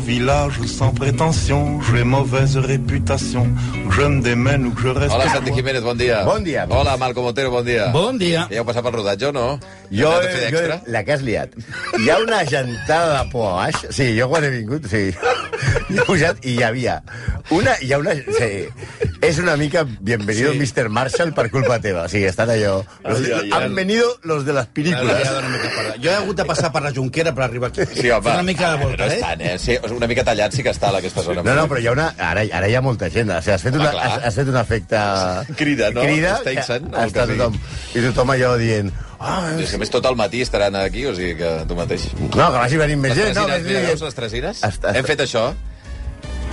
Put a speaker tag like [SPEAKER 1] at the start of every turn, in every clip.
[SPEAKER 1] village sans prétention, j'ai mauvaise réputation, que je me démène ou que je reste...
[SPEAKER 2] Hola, Santi Jiménez, bon dia.
[SPEAKER 3] Bon dia.
[SPEAKER 2] Hola, Marco Montero, bon dia.
[SPEAKER 4] Bon dia.
[SPEAKER 2] Ja heu passat pel rodatge o no?
[SPEAKER 3] Jo,
[SPEAKER 2] Heu anat a fer
[SPEAKER 3] jo,
[SPEAKER 2] d'extra?
[SPEAKER 3] la que has liat. Hi ha una gentada de por a baix. Sí, jo quan he vingut, sí. He pujat i hi havia... Una, hi ha una... Sí. És una mica bienvenido sí. Mr. Marshall per culpa teva. O sigui, estan allò... Los,
[SPEAKER 2] Ai, ai, ai.
[SPEAKER 3] han venido los de las películas.
[SPEAKER 4] Ara, ara, eh, una mica per allà. Jo he hagut de passar per la Junquera per arribar aquí.
[SPEAKER 2] Sí, home.
[SPEAKER 4] Fent Una mica de volta,
[SPEAKER 2] no és
[SPEAKER 4] eh?
[SPEAKER 2] tant, eh? Sí, una mica tallat sí que està a aquesta zona.
[SPEAKER 3] No, no, però hi ha una... Ara, ara hi ha molta gent. O sigui, has, fet
[SPEAKER 2] Home,
[SPEAKER 3] una,
[SPEAKER 2] Ah, clar.
[SPEAKER 3] has, has fet un efecte...
[SPEAKER 2] Crida, no?
[SPEAKER 3] Crida.
[SPEAKER 2] Està insant,
[SPEAKER 3] que
[SPEAKER 2] el
[SPEAKER 3] Està
[SPEAKER 2] carrer.
[SPEAKER 3] tothom, I tothom allò dient... Ah,
[SPEAKER 2] I és que a més tot el matí estaran aquí, o sigui que tu mateix.
[SPEAKER 3] no, que vagi venint més
[SPEAKER 2] Les
[SPEAKER 3] gent.
[SPEAKER 2] tresines,
[SPEAKER 3] No,
[SPEAKER 2] no,
[SPEAKER 3] més
[SPEAKER 2] mira, veus
[SPEAKER 3] gent.
[SPEAKER 2] les tresines?
[SPEAKER 3] Està-
[SPEAKER 2] Hem fet això.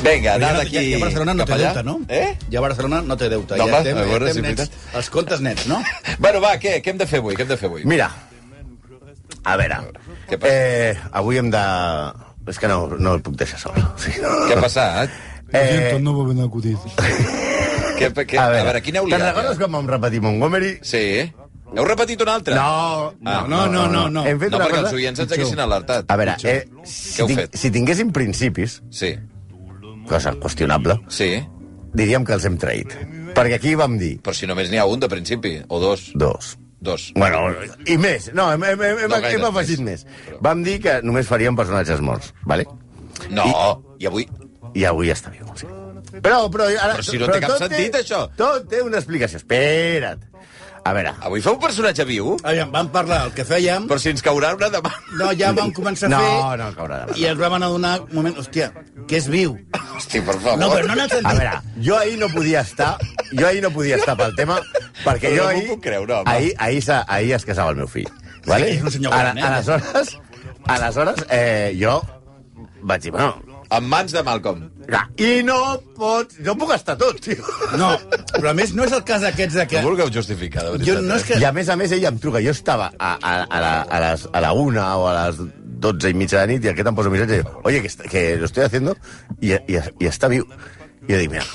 [SPEAKER 2] Vinga,
[SPEAKER 4] Però
[SPEAKER 2] anar
[SPEAKER 4] ja, no,
[SPEAKER 2] d'aquí
[SPEAKER 4] ja, ja a Barcelona no
[SPEAKER 2] cap
[SPEAKER 4] té
[SPEAKER 2] allà.
[SPEAKER 4] deute, no?
[SPEAKER 2] Eh?
[SPEAKER 4] Ja a Barcelona no té deute.
[SPEAKER 2] No,
[SPEAKER 4] ja
[SPEAKER 2] va,
[SPEAKER 4] estem,
[SPEAKER 2] a veure
[SPEAKER 4] ja
[SPEAKER 2] si
[SPEAKER 4] estem
[SPEAKER 2] és
[SPEAKER 4] nets,
[SPEAKER 2] veritat.
[SPEAKER 4] els comptes nets, no?
[SPEAKER 2] Bueno, va, què? Què hem de fer avui? Què hem de fer avui?
[SPEAKER 3] Mira, a veure,
[SPEAKER 2] Què passa?
[SPEAKER 3] eh, avui hem de... És que no, no el puc deixar sol. Sí, no.
[SPEAKER 2] Què ha passat?
[SPEAKER 3] Eh,
[SPEAKER 5] no va ben acudit.
[SPEAKER 2] Què, què, a, veure, a veure, quina heu
[SPEAKER 3] te'n
[SPEAKER 2] liat?
[SPEAKER 3] recordes quan vam repetir Montgomery?
[SPEAKER 2] Sí. Heu repetit una altra?
[SPEAKER 3] No,
[SPEAKER 2] Ah,
[SPEAKER 4] no, no, no, no.
[SPEAKER 3] Hem fet
[SPEAKER 2] no
[SPEAKER 3] una
[SPEAKER 2] perquè
[SPEAKER 3] cosa...
[SPEAKER 2] els oients ens haguessin alertat.
[SPEAKER 3] A veure, eh, si,
[SPEAKER 2] heu
[SPEAKER 3] tinc,
[SPEAKER 2] fet?
[SPEAKER 3] si tinguéssim principis,
[SPEAKER 2] Sí,
[SPEAKER 3] cosa qüestionable,
[SPEAKER 2] sí.
[SPEAKER 3] diríem que els hem traït. Perquè aquí vam dir
[SPEAKER 2] Però si només n'hi ha un de principi, o dos.
[SPEAKER 3] dos.
[SPEAKER 2] Dos.
[SPEAKER 3] Bueno, i més. No, hem, hem, hem,
[SPEAKER 2] No
[SPEAKER 3] hem,
[SPEAKER 2] gaires
[SPEAKER 3] hem afegit
[SPEAKER 2] més.
[SPEAKER 3] més. Vam dir que només faríem personatges morts, vale?
[SPEAKER 2] No, i avui...
[SPEAKER 3] i avui està viu. Sí. Però, però, ara,
[SPEAKER 2] Però si no té cap
[SPEAKER 3] tot
[SPEAKER 2] sentit, això.
[SPEAKER 3] Tot té una explicació. Espera't. A veure.
[SPEAKER 2] Avui fa un personatge viu?
[SPEAKER 4] Aviam, vam parlar el que fèiem,
[SPEAKER 2] Però si ens caurà una demà...
[SPEAKER 4] no, ja vam començar a
[SPEAKER 3] No,
[SPEAKER 4] fer,
[SPEAKER 3] no, caurà de
[SPEAKER 4] i
[SPEAKER 3] barra.
[SPEAKER 4] ens vam adonar, un moment, hòstia, que és viu.
[SPEAKER 2] Hosti, per favor.
[SPEAKER 4] No, però no n'has
[SPEAKER 3] A
[SPEAKER 4] sentit.
[SPEAKER 3] veure, jo ahir no podia estar... Jo ahir no podia estar pel tema,
[SPEAKER 2] Però
[SPEAKER 3] perquè jo
[SPEAKER 2] no m'ho
[SPEAKER 3] ahir...
[SPEAKER 2] puc creure, home.
[SPEAKER 3] ahir, ahir, se- ahir es casava el meu fill. Vale?
[SPEAKER 4] és un senyor
[SPEAKER 3] Ala-
[SPEAKER 4] gran, eh?
[SPEAKER 3] Aleshores, aleshores eh, jo vaig dir, bueno,
[SPEAKER 2] En mans de Malcolm.
[SPEAKER 3] ja, i no pots... No puc estar tot, tio.
[SPEAKER 4] No, però a més no és el cas aquests de
[SPEAKER 2] No
[SPEAKER 4] que...
[SPEAKER 2] vulgueu justificar, de veritat. eh?
[SPEAKER 4] Jo, no és que...
[SPEAKER 3] I a més a més ella em truca. Jo estava a, a, a, la, a, les, a la una o a les 12 i mitja de la nit i aquest em posa un missatge i diu, oye, que, est- que lo estoy haciendo i, i, i està viu. I jo dic, mira...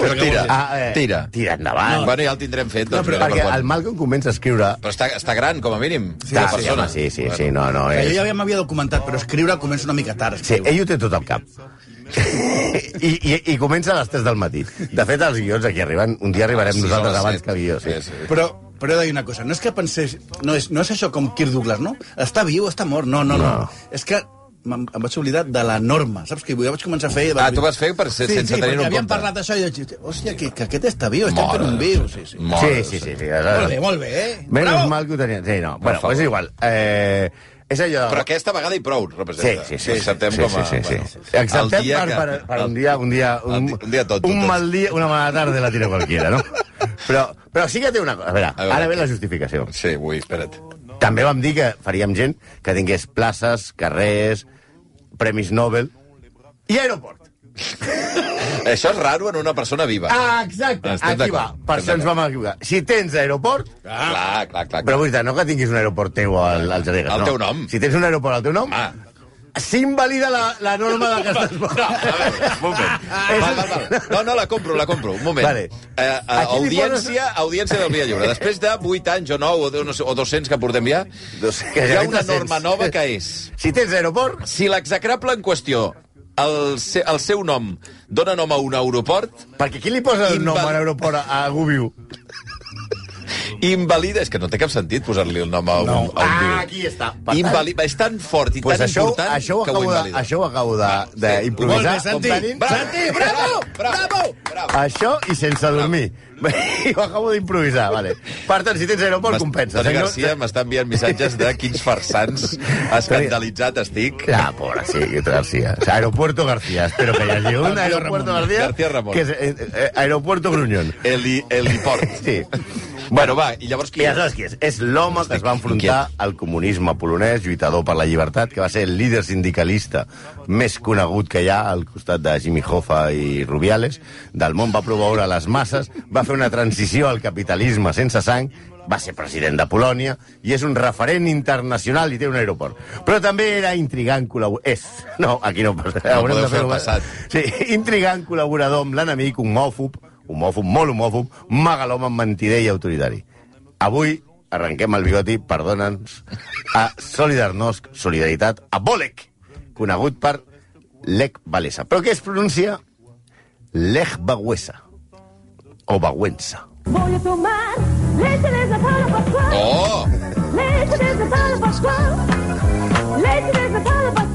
[SPEAKER 2] Però tira,
[SPEAKER 3] Ah,
[SPEAKER 2] tira.
[SPEAKER 3] Tira endavant.
[SPEAKER 2] Bueno, ja el tindrem fet,
[SPEAKER 3] No,
[SPEAKER 2] doncs.
[SPEAKER 3] però
[SPEAKER 2] mira,
[SPEAKER 3] perquè
[SPEAKER 2] per quan.
[SPEAKER 3] el Malcolm comença a escriure...
[SPEAKER 2] Però està, està gran, com a mínim.
[SPEAKER 3] Sí,
[SPEAKER 2] la
[SPEAKER 3] sí,
[SPEAKER 2] persona.
[SPEAKER 3] home, sí, sí, sí, no, no,
[SPEAKER 4] Que jo
[SPEAKER 3] és...
[SPEAKER 4] ja m'havia documentat, però escriure comença una mica tard.
[SPEAKER 3] Sí,
[SPEAKER 4] escriure.
[SPEAKER 3] ell ho té tot al cap. I, i, I comença a les 3 del matí. De fet, els guions aquí arriben... Un dia arribarem
[SPEAKER 2] Ah, Sí,
[SPEAKER 3] nosaltres
[SPEAKER 2] home, sí.
[SPEAKER 3] abans que el guió, sí.
[SPEAKER 2] Sí, sí.
[SPEAKER 4] Però, però he de dir una cosa, no és que pensés... No és, no és això com Kirk Douglas, no? Està viu, està mort, no, no, no.
[SPEAKER 3] No.
[SPEAKER 4] És que em, em vaig oblidar de la norma, saps? Que jo vaig començar a fer...
[SPEAKER 2] Ah, tu vas fer per ser- sense
[SPEAKER 4] sí,
[SPEAKER 2] tenir-ho en
[SPEAKER 4] perquè havíem
[SPEAKER 2] compte.
[SPEAKER 4] parlat d'això i vaig dir, hòstia, que, que aquest està viu, estem fent un
[SPEAKER 2] Mare
[SPEAKER 4] viu,
[SPEAKER 2] de-
[SPEAKER 4] sí, sí.
[SPEAKER 2] Mare de-
[SPEAKER 3] sí, sí, sí, sí.
[SPEAKER 4] Molt bé, molt bé, eh?
[SPEAKER 3] Menos
[SPEAKER 4] Bravo!
[SPEAKER 3] mal que ho tenien. Sí, no. Bueno,
[SPEAKER 2] favor.
[SPEAKER 3] pues és igual. Eh, és allò...
[SPEAKER 2] Però aquesta vegada i prou,
[SPEAKER 3] Sí,
[SPEAKER 2] representa.
[SPEAKER 3] sí, sí.
[SPEAKER 2] Acceptem
[SPEAKER 3] sí,
[SPEAKER 2] com a...
[SPEAKER 3] Sí, sí, sí.
[SPEAKER 2] bueno, el
[SPEAKER 3] Acceptem
[SPEAKER 2] dia
[SPEAKER 3] per,
[SPEAKER 2] que-
[SPEAKER 3] per, per un dia... Un dia,
[SPEAKER 2] el
[SPEAKER 3] un,
[SPEAKER 2] di- un dia tot,
[SPEAKER 3] Un
[SPEAKER 2] tot,
[SPEAKER 3] mal dia, una mala tarda la tira qualquiera, no? Però, però sí que té una cosa. A veure,
[SPEAKER 2] A veure.
[SPEAKER 3] ara ve la justificació.
[SPEAKER 2] Sí, ui, espera't.
[SPEAKER 3] També vam dir que faríem gent que tingués places, carrers, premis Nobel i aeroport.
[SPEAKER 2] Això és raro en una persona viva.
[SPEAKER 3] Ah, exacte,
[SPEAKER 2] Estem
[SPEAKER 3] aquí va.
[SPEAKER 2] d'acord,
[SPEAKER 3] Per
[SPEAKER 2] estem
[SPEAKER 3] això ens vam equivocar. Si tens aeroport,
[SPEAKER 2] Clar, clar, clar. clar.
[SPEAKER 3] Però vull dir, no que tinguis un aeroport teu al, al Jardinet.
[SPEAKER 2] Al
[SPEAKER 3] no.
[SPEAKER 2] teu nom.
[SPEAKER 3] Si tens un aeroport al teu nom,
[SPEAKER 2] Ah.
[SPEAKER 3] s'invalida la, la norma de que Ah, estàs
[SPEAKER 2] No, a veure, un moment. Va, va, va. No, no, la compro, la compro. Un moment.
[SPEAKER 3] Vale.
[SPEAKER 2] Eh, eh,
[SPEAKER 3] Aquí li
[SPEAKER 2] audiència, audiència del Via Lliure. Després de 8 anys o 9 o, deu, no sé, o 200 que portem ja,
[SPEAKER 3] Dos-
[SPEAKER 2] hi ha una
[SPEAKER 3] 200.
[SPEAKER 2] norma nova que és...
[SPEAKER 3] Si tens aeroport,
[SPEAKER 2] Si l'execrable en qüestió el, se, el seu nom dona nom a un aeroport,
[SPEAKER 3] perquè qui li posa el
[SPEAKER 2] Inval-
[SPEAKER 3] nom a l'aeroport a, a algú viu?
[SPEAKER 2] invalida... És que no té cap sentit posar-li el nom a un, a un
[SPEAKER 3] Ah,
[SPEAKER 2] viu.
[SPEAKER 3] aquí està.
[SPEAKER 2] Invali... És tan fort i
[SPEAKER 3] Pues
[SPEAKER 2] tan
[SPEAKER 3] això,
[SPEAKER 2] important
[SPEAKER 3] això ho
[SPEAKER 2] que ho
[SPEAKER 3] acabo de,
[SPEAKER 2] invalida. Ah,
[SPEAKER 3] això ho acabo de, de
[SPEAKER 2] sí.
[SPEAKER 4] Molt
[SPEAKER 3] improvisar.
[SPEAKER 4] bé, Santi.
[SPEAKER 3] comprenent?
[SPEAKER 4] Santi, bravo!
[SPEAKER 2] Bravo! Bravo! bravo.
[SPEAKER 3] Això i sense dormir. I ho acabo d'improvisar, vale. Per tant, si tens aeroport,
[SPEAKER 2] Mas-
[SPEAKER 3] compensa.
[SPEAKER 2] Toni
[SPEAKER 3] Si no-
[SPEAKER 2] Garcia m'està enviant missatges de quins farsans escandalitzat estic.
[SPEAKER 3] Ah, pobre, sí, García. O sea, aeropuerto García, espero que haya sido un
[SPEAKER 4] García
[SPEAKER 3] aeropuerto
[SPEAKER 4] Ramón.
[SPEAKER 3] García.
[SPEAKER 2] García Ramón.
[SPEAKER 3] Que es, eh, eh, aeropuerto Gruñón.
[SPEAKER 2] Heli, heliport.
[SPEAKER 3] Sí.
[SPEAKER 2] Bueno, va, i llavors
[SPEAKER 3] I
[SPEAKER 2] qui...
[SPEAKER 3] aleshores qui és? És l'home que es va enfrontar al comunisme polonès, lluitador per la llibertat, que va ser el líder sindicalista més conegut que hi ha al costat de Jimmy Hoffa i Rubiales, del món va promoure les masses, va fer una transició al capitalisme sense sang, va ser president de Polònia i és un referent internacional i té un aeroport. Però també era intrigant col·laborador... És. No, aquí no passa. Haurem
[SPEAKER 2] podeu
[SPEAKER 3] de
[SPEAKER 2] fer el
[SPEAKER 3] fer-ho- eh?
[SPEAKER 2] passat.
[SPEAKER 3] Sí, intrigant col·laborador amb l'enemic, homòfob, homòfob, molt homòfob, megalòman, mentider i autoritari. Avui arrenquem el bigoti, perdona'ns, a Solidarnosc, Solidaritat, a Bolek, conegut per Lech Walesa. Però què es pronuncia? Lech Baguesa. O Baguensa.
[SPEAKER 5] Voy a tomar leche desde Palo Pascual.
[SPEAKER 2] Oh!
[SPEAKER 5] Leche desde Palo Pascual. Leche desde Palo Pascual.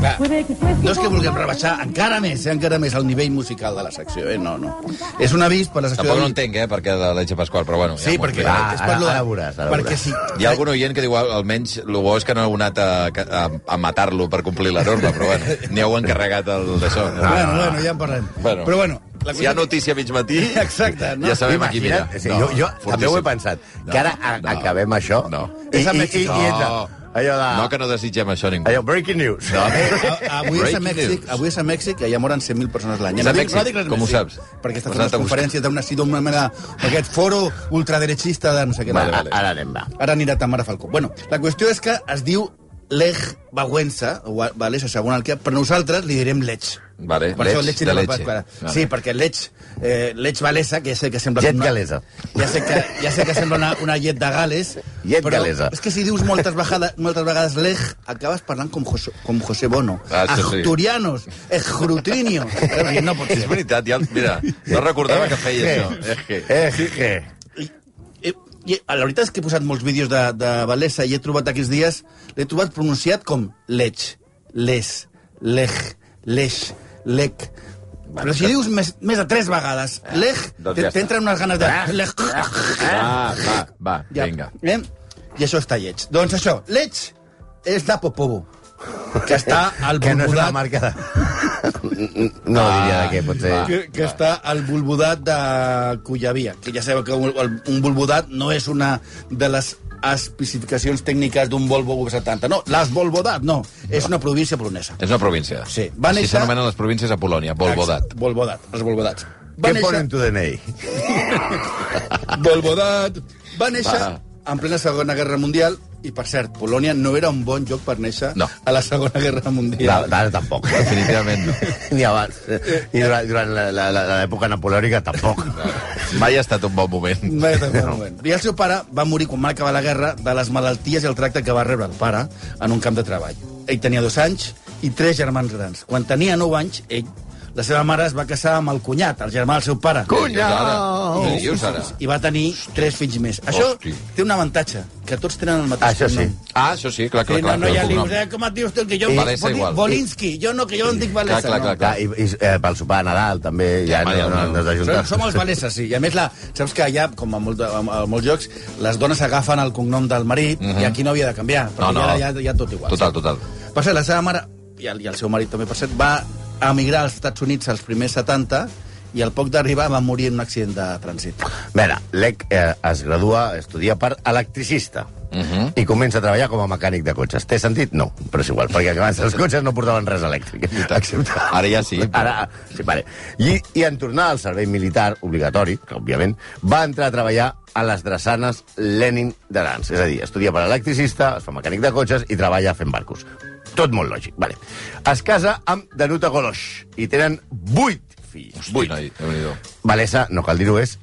[SPEAKER 4] Clar.
[SPEAKER 5] Puede que cueste
[SPEAKER 4] No és que
[SPEAKER 5] como
[SPEAKER 4] vulguem
[SPEAKER 5] pan.
[SPEAKER 4] rebaixar encara més, eh, encara més el nivell musical de la secció, eh? No, no. És un avís per la secció...
[SPEAKER 2] Tampoc no
[SPEAKER 4] de-
[SPEAKER 2] entenc, eh, perquè de l'Etxe Pasqual, però bueno...
[SPEAKER 4] Sí,
[SPEAKER 2] m'ho
[SPEAKER 4] perquè...
[SPEAKER 2] explicarà.
[SPEAKER 3] Va,
[SPEAKER 4] és
[SPEAKER 3] ara-
[SPEAKER 4] per lo de-
[SPEAKER 3] ara veuràs, ara
[SPEAKER 4] perquè
[SPEAKER 3] veuràs.
[SPEAKER 4] si...
[SPEAKER 2] Hi ha algun oient que diu, "Al- almenys, el bo és que no heu anat a, a, a matar-lo per complir la norma, però bueno, n'hi heu encarregat el d'això.
[SPEAKER 4] Bueno, bueno, ja en parlem.
[SPEAKER 2] Bueno.
[SPEAKER 4] Però bueno,
[SPEAKER 2] La si hi ha notícia a mig matí,
[SPEAKER 4] Exacte, no?
[SPEAKER 2] ja sabem a qui mira.
[SPEAKER 3] Imagina't, Sí, no, jo jo també ho he pensat.
[SPEAKER 2] No,
[SPEAKER 3] que ara a,
[SPEAKER 2] no,
[SPEAKER 3] acabem això...
[SPEAKER 2] no.
[SPEAKER 3] I,
[SPEAKER 4] És a
[SPEAKER 3] i, i, i,
[SPEAKER 4] Mèxic.
[SPEAKER 3] entra allò de...
[SPEAKER 2] No que no desitgem això a ningú.
[SPEAKER 3] Allò, breaking news. No.
[SPEAKER 4] A- Avui és a
[SPEAKER 2] Breaking
[SPEAKER 4] Mèxic,
[SPEAKER 2] news.
[SPEAKER 4] avui és a Mèxic i allà moren 100.000 persones l'any.
[SPEAKER 2] És a Mèxic,
[SPEAKER 4] dic res
[SPEAKER 2] com ho
[SPEAKER 4] més, sí,
[SPEAKER 2] saps?
[SPEAKER 4] Perquè està
[SPEAKER 2] Ho has
[SPEAKER 4] fent
[SPEAKER 2] anat a
[SPEAKER 4] unes conferències d'una sí, d'una manera... d'aquest foro ultraderechista de no sé què.
[SPEAKER 3] Va,
[SPEAKER 4] Vale,
[SPEAKER 3] a-
[SPEAKER 4] vale.
[SPEAKER 3] ara anem, va.
[SPEAKER 4] Ara anirà Tamara Falcó. Bueno, la qüestió és que es diu Lech Baguensa, o a- Valesa, segon el que... Però nosaltres li direm Lech.
[SPEAKER 2] Vale,
[SPEAKER 4] per això
[SPEAKER 2] Lech, de
[SPEAKER 4] Lech i no
[SPEAKER 2] eh? Leche.
[SPEAKER 4] Pasquara.
[SPEAKER 2] Vale.
[SPEAKER 4] Sí, perquè Lech, eh, Lech Valesa, que ja sé que sembla...
[SPEAKER 3] Llet
[SPEAKER 4] una-
[SPEAKER 3] galesa.
[SPEAKER 4] Ja sé que, ja sé que sembla una, una llet de Gales.
[SPEAKER 3] Llet galesa.
[SPEAKER 4] És que si dius moltes vegades, moltes vegades Lech, acabes parlant com José, com José Bono.
[SPEAKER 2] Ah, això sí.
[SPEAKER 4] Asturianos, escrutrinio. No pot
[SPEAKER 2] És
[SPEAKER 4] ser.
[SPEAKER 2] veritat, ja, mira, no recordava que feia
[SPEAKER 3] Eh,
[SPEAKER 2] això. És que...
[SPEAKER 3] Eje.
[SPEAKER 4] I, i, la veritat és que he posat molts vídeos de, de Valesa i he trobat aquests dies, l'he trobat pronunciat com Lech, Les, Lech, Lech, Lec. Però si dius més, més de tres vegades Lech,
[SPEAKER 2] doncs ja
[SPEAKER 4] te-
[SPEAKER 2] està.
[SPEAKER 4] t'entren unes ganes de... Lech,
[SPEAKER 2] Va, va, va,
[SPEAKER 4] Eh? ja.
[SPEAKER 2] vinga.
[SPEAKER 4] Eh? I això està lleig. Doncs això, Lech és de Popovo, que està al
[SPEAKER 3] Que no és una
[SPEAKER 4] bombodat...
[SPEAKER 3] marca de... Ah, No diria de què, potser...
[SPEAKER 2] Ah,
[SPEAKER 4] que, que està al bulbudat de Cullavia, que ja sabeu que un, el- un bulbudat no és una de les especificacions tècniques d'un Volvo V70. No, l'has volvodat, no. És una província polonesa.
[SPEAKER 2] És una província.
[SPEAKER 4] Sí, va
[SPEAKER 2] Així
[SPEAKER 4] néixer-
[SPEAKER 2] s'anomenen les províncies a Polònia, Volvodat.
[SPEAKER 4] Exacte, Volvodat, els volvodats.
[SPEAKER 3] Què pone en tu DNI?
[SPEAKER 4] Volvodat. Va néixer
[SPEAKER 2] Va.
[SPEAKER 4] en plena Segona Guerra Mundial i, per cert, Polònia no era un bon lloc per néixer
[SPEAKER 2] No.
[SPEAKER 4] a la Segona Guerra Mundial.
[SPEAKER 3] No, Ara tampoc.
[SPEAKER 2] Definitivament no.
[SPEAKER 3] Ni abans. Ni durant, durant la- la- la- l'època napoleònica tampoc.
[SPEAKER 2] Mai ha estat un bon moment.
[SPEAKER 4] No, no. I el seu pare va morir quan va acabar la guerra de les malalties i el tracte que va rebre el pare en un camp de treball. Ell tenia dos anys i tres germans grans. Quan tenia nou anys, ell, la seva mare es va casar amb el cunyat, el germà del seu pare.
[SPEAKER 2] Cunyau! Què dius ara?
[SPEAKER 4] I va tenir tres fills més. Això
[SPEAKER 2] Hosti.
[SPEAKER 4] té un avantatge, que tots tenen el mateix
[SPEAKER 3] Això sí.
[SPEAKER 4] cognom.
[SPEAKER 2] Ah, això sí, clar, clar,
[SPEAKER 4] Sí, no,
[SPEAKER 2] clar.
[SPEAKER 4] no hi ha
[SPEAKER 2] el cognom.
[SPEAKER 4] llibres. Eh, Com et dius tu? Que jo,
[SPEAKER 2] I- Valesa
[SPEAKER 4] Boli-
[SPEAKER 2] igual.
[SPEAKER 4] Bolinski. Jo no, que jo em dic Valesa.
[SPEAKER 2] clar,
[SPEAKER 4] no.
[SPEAKER 2] clar, clar.
[SPEAKER 3] Clar, i, i eh, pel sopar de Nadal també ja no,
[SPEAKER 2] home, ja
[SPEAKER 3] no,
[SPEAKER 2] no.
[SPEAKER 3] no, has
[SPEAKER 4] Som,
[SPEAKER 3] d'ajuntar.
[SPEAKER 4] som els valeses, sí. I a més, la, saps que allà, com a, molt, a, a molts jocs, les dones agafen el cognom del marit i aquí no havia de canviar, perquè
[SPEAKER 2] Mhm. No, no.
[SPEAKER 4] no, ja, ja, ja tot igual.
[SPEAKER 2] Total, total.
[SPEAKER 4] Per cert, la seva mare, i el, i el seu marit també, per cert, va emigrar als Estats Units als primers 70 i al poc d'arribar va morir en un accident de trànsit.
[SPEAKER 3] A veure, l'EC eh, es gradua, estudia per electricista. Uh
[SPEAKER 4] Mhm.
[SPEAKER 3] -huh. i comença a treballar com a mecànic de cotxes. Té sentit? No, però és igual, perquè abans els cotxes no portaven res elèctric. Excepte...
[SPEAKER 2] Ara ja sí, però-
[SPEAKER 3] Ara, sí, vale. I, I en tornar al servei militar obligatori, que òbviament, va entrar a treballar a les drassanes Lenin d'Arans. És a dir, estudia per electricista, es fa mecànic de cotxes i treballa fent barcos. Tot molt lògic, vale. Es casa amb Danuta Golosh i tenen vuit fills.
[SPEAKER 2] Vuit. Noi, Déu-n'hi-do.
[SPEAKER 3] Valesa, no cal dir-ho, és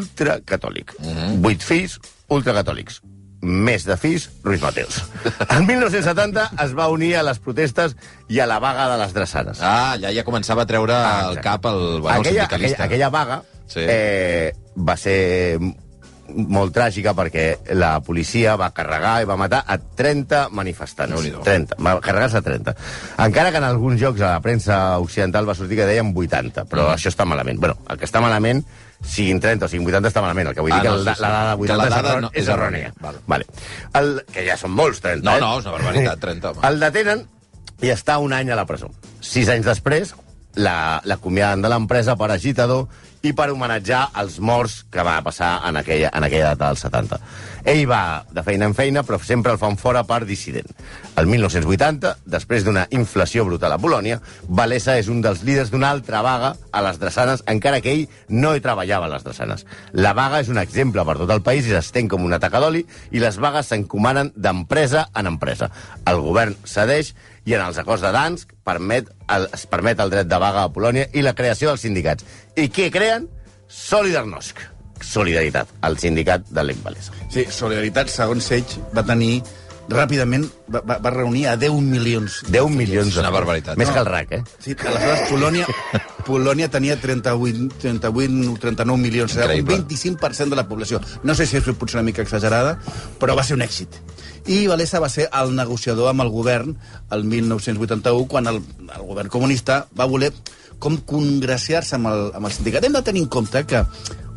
[SPEAKER 3] ultracatòlic. Mm
[SPEAKER 2] Mhm.
[SPEAKER 3] -hmm. Vuit fills, ultracatòlics. Més de fills, Ruiz Mateus. El 1970 es va unir a les protestes i a la vaga de les drassanes.
[SPEAKER 2] Ah, allà ja començava a treure
[SPEAKER 3] Ah,
[SPEAKER 2] el
[SPEAKER 3] exacte.
[SPEAKER 2] cap el, bueno, el
[SPEAKER 3] aquella,
[SPEAKER 2] sindicalista.
[SPEAKER 3] aquella, aquella vaga
[SPEAKER 2] Sí.
[SPEAKER 3] sí. eh, va ser m- molt tràgica perquè la policia va carregar i va matar a 30 manifestants.
[SPEAKER 2] Déu-n'hi-do.
[SPEAKER 3] 30, va carregar-se a 30. Encara que en alguns jocs a la premsa occidental va sortir que deien 80,
[SPEAKER 2] Mm.
[SPEAKER 3] però això està malament. Bueno, el que està malament, siguin 30 o siguin 80, està malament. El que vull
[SPEAKER 2] Ah,
[SPEAKER 3] dir
[SPEAKER 2] no,
[SPEAKER 3] que
[SPEAKER 2] sí,
[SPEAKER 3] la,
[SPEAKER 2] sí.
[SPEAKER 3] la dada de
[SPEAKER 2] Que la
[SPEAKER 3] 80 és,
[SPEAKER 2] dada
[SPEAKER 3] errò-
[SPEAKER 2] no- és
[SPEAKER 3] és errònia.
[SPEAKER 2] errònia, val.
[SPEAKER 3] Vale. El, que ja són molts, 30.
[SPEAKER 2] No,
[SPEAKER 3] eh?
[SPEAKER 2] no, és una barbaritat, 30, home.
[SPEAKER 3] El detenen i està un any a la presó. Sis anys després, la- l'acomiaden de l'empresa per agitador i per homenatjar els morts que va passar en aquella, en aquella data del 70. Ell va de feina en feina, però sempre el fan fora per dissident. El 1980, després d'una inflació brutal a Polònia, Valesa és un dels líders d'una altra vaga a les drassanes, encara que ell no hi treballava a les drassanes. La vaga és un exemple per tot el país i s'estén com una taca d'oli i les vagues s'encomanen d'empresa en empresa. El govern cedeix i en els acords de Dansk permet el, es permet el dret de vaga a Polònia i la creació dels sindicats. I què creen? Solidarnosc. Solidaritat, el sindicat de l'Ec Valesa.
[SPEAKER 4] Sí, Solidaritat, segons ells, va tenir ràpidament va, va, va reunir a 10 milions.
[SPEAKER 3] 10 milions
[SPEAKER 2] És una
[SPEAKER 3] d'euros.
[SPEAKER 2] barbaritat.
[SPEAKER 3] Més
[SPEAKER 2] No.
[SPEAKER 3] que el RAC, eh?
[SPEAKER 4] Sí, aleshores Polònia, Polònia tenia 38, 38 o 39 milions, era un
[SPEAKER 2] Increïble.
[SPEAKER 4] 25% de la població. No sé si és potser una mica exagerada, però va ser un èxit. I Valesa va ser el negociador amb el govern el 1981, quan el, el govern comunista va voler com congraciar-se amb, el, amb el sindicat. Hem de tenir en compte que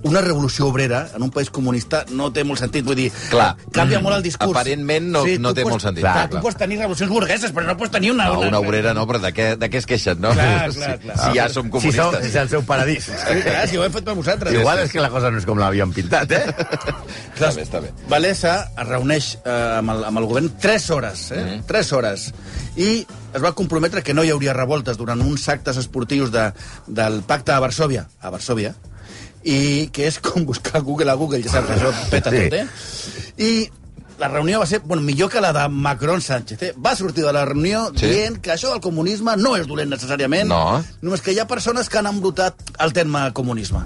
[SPEAKER 4] una revolució obrera en un país comunista no té molt sentit, vull dir,
[SPEAKER 2] Clar.
[SPEAKER 4] canvia
[SPEAKER 2] Mm.
[SPEAKER 4] molt el discurs.
[SPEAKER 2] Aparentment no- no
[SPEAKER 4] tu
[SPEAKER 2] té
[SPEAKER 4] pots-
[SPEAKER 2] molt sentit.
[SPEAKER 4] Clar,
[SPEAKER 2] Clar,
[SPEAKER 4] tu
[SPEAKER 2] clar.
[SPEAKER 4] pots tenir revolucions burgueses, però no pots tenir una...
[SPEAKER 2] No, una obrera no, però de què, de què es queixen, no?
[SPEAKER 4] Clar, clar, clar.
[SPEAKER 2] Si, si ja som
[SPEAKER 3] Si, som,
[SPEAKER 2] comunistes.
[SPEAKER 3] si és el seu paradís.
[SPEAKER 4] Sí, clar, si ho hem fet per vosaltres.
[SPEAKER 3] Igual és que la cosa no és com l'havien pintat, eh?
[SPEAKER 2] Està bé, està bé.
[SPEAKER 4] Valesa es reuneix eh, amb, el, amb el govern 3 hores, eh? Mm. 3 hores. I es va comprometre que no hi hauria revoltes durant uns actes esportius de, del pacte a Varsovia, a Varsovia, i que és com buscar Google a Google, ja saps, això peta
[SPEAKER 3] Sí.
[SPEAKER 4] tot, eh? I la reunió va ser bueno, millor que la de Macron-Sánchez. Eh? Va sortir de la reunió
[SPEAKER 2] Sí.
[SPEAKER 4] sí. dient que això del comunisme no és dolent necessàriament,
[SPEAKER 2] No.
[SPEAKER 4] Eh, només que hi ha persones que han embrutat el terme comunisme.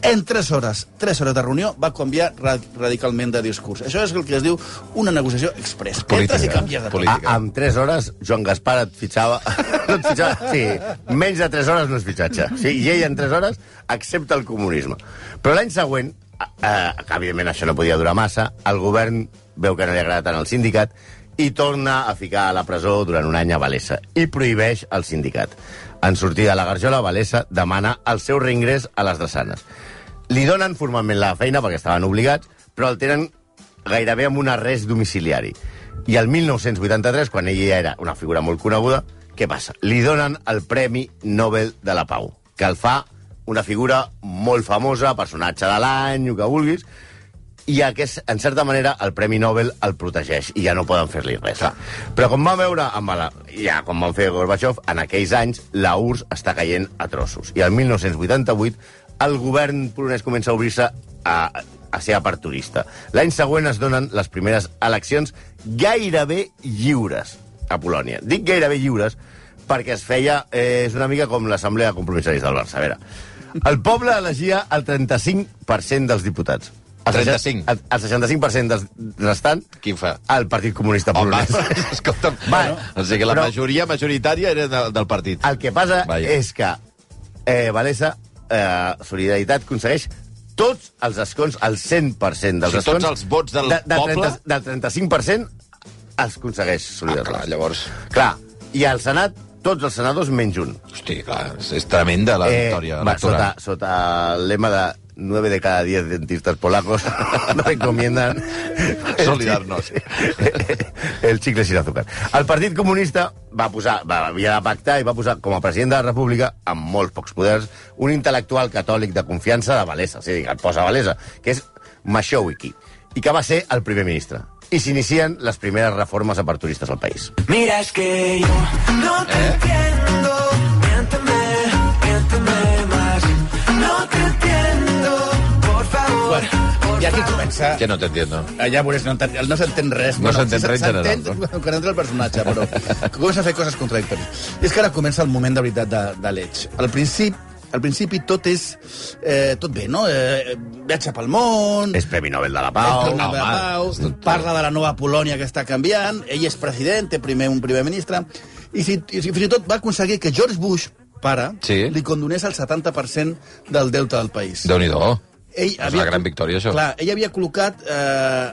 [SPEAKER 4] En tres hores, tres hores de reunió, va canviar ra radicalment de discurs. Això és el que es diu una negociació express.
[SPEAKER 2] Política.
[SPEAKER 4] Entres i canvies de
[SPEAKER 2] Política.
[SPEAKER 4] política.
[SPEAKER 3] A, amb 3 hores, Joan Gaspar et fitxava... No et fitxava sí, menys de 3 hores no és fitxatge. Sí, I ell en 3 hores accepta el comunisme. Però l'any següent, eh, que evidentment això no podia durar massa, el govern veu que no li agrada tant al sindicat i torna a ficar a la presó durant un any a Valesa i prohibeix el sindicat. En sortir de la Garjola, Valesa demana el seu reingrés a les drassanes. Li donen formalment la feina perquè estaven obligats, però el tenen gairebé amb un arrest domiciliari. I el 1983, quan ell ja era una figura molt coneguda, què passa? Li donen el Premi Nobel de la Pau, que el fa una figura molt famosa, personatge de l'any, o que vulguis, i aquest, en certa manera, el Premi Nobel el protegeix i ja no poden fer-li res. Però com vam veure, amb la, ja com van fer Gorbachev, en aquells anys la URSS està caient a trossos. I el 1988 el govern polonès comença a obrir-se a, a ser aperturista. L'any següent es donen les primeres eleccions gairebé lliures a Polònia. Dic gairebé lliures perquè es feia... Eh, és una mica com l'assemblea de compromissaris del Barça. A veure, el poble elegia el 35% dels diputats. El
[SPEAKER 2] 35.
[SPEAKER 3] El, el 65% dels restant
[SPEAKER 2] Qui fa?
[SPEAKER 3] el Partit Comunista
[SPEAKER 2] Home,
[SPEAKER 3] Polonès.
[SPEAKER 2] escolta'm,
[SPEAKER 3] Va,
[SPEAKER 2] bueno, o sigui, la
[SPEAKER 3] però- Ah,
[SPEAKER 2] majoria majoritària era del, del partit.
[SPEAKER 3] El que passa
[SPEAKER 2] Vaja.
[SPEAKER 3] Vaja. és que eh, Valesa, eh, Solidaritat, aconsegueix tots els escons, el 100% dels
[SPEAKER 2] O sigui, tots
[SPEAKER 3] escons...
[SPEAKER 2] els vots del
[SPEAKER 3] de, de
[SPEAKER 2] poble?
[SPEAKER 3] 30, del 35% es aconsegueix
[SPEAKER 2] Ah,
[SPEAKER 3] Solidaritat.
[SPEAKER 2] clar, llavors...
[SPEAKER 3] clar, i al Senat, tots els senadors menys un.
[SPEAKER 2] Hosti, clar, és, és tremenda la victòria
[SPEAKER 3] Eh, va,
[SPEAKER 2] electoral.
[SPEAKER 3] sota, sota el lema de 9 de cada 10 dentistas polacos no recomiendan
[SPEAKER 2] Solidarnos.
[SPEAKER 3] el xicle sin azúcar. El Partit Comunista va posar, va, havia de pactar i va posar com a president de la República, amb molts pocs poders, un intel·lectual catòlic de confiança de Valesa, és a dir, que el posa a Valesa, que és Mashowiki, i que va ser el primer ministre. I s'inicien les primeres reformes aperturistes al país.
[SPEAKER 6] Mira, es que yo no te entiendo. Miénteme, miénteme más. No te entiendo, por favor.
[SPEAKER 4] Bueno, I aquí comença...
[SPEAKER 2] Que no t'entiendo.
[SPEAKER 4] Allà veuràs, no, enten- no s'entén res.
[SPEAKER 2] No s'entén res en general, doncs. no?
[SPEAKER 4] S'entén quan entra el personatge, però comença a fer coses contradictòries. I és que ara comença el moment de veritat de, de l'Eig. Al principi, al principi tot és... Eh, tot bé, no? Eh, viatge pel món...
[SPEAKER 3] És Premi Nobel de la
[SPEAKER 4] Pau,
[SPEAKER 3] Pau,
[SPEAKER 2] Ah, home,
[SPEAKER 4] Pau,
[SPEAKER 2] és tot-
[SPEAKER 4] parla de la nova Polònia que està canviant, ell és president, té primer un primer ministre, i, si, i si, fins i tot va aconseguir que George Bush, pare,
[SPEAKER 2] Sí.
[SPEAKER 4] li condonés el 70% del deute del país.
[SPEAKER 2] Déu-n'hi-do.
[SPEAKER 4] Ell
[SPEAKER 2] És una gran victòria, això.
[SPEAKER 4] Clar, ell havia col·locat eh,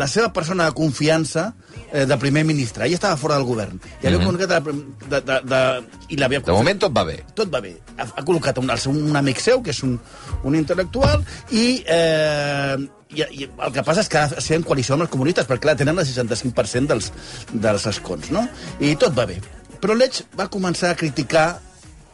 [SPEAKER 4] la seva persona de confiança eh, de primer ministre. Ell estava fora del govern. I havia col·locat... De, de, de, de, i l'havia
[SPEAKER 2] Mhm. De moment tot va bé.
[SPEAKER 4] tot va bé. Ha, ha col·locat un, el seu, un amic seu, que és un, un intel·lectual, i, eh, i, i el que passa és que ha de ser en coalició amb els comunistes, perquè clar, tenen el 65% dels, dels escons, no? I tot va bé. Però l'Eix va començar a criticar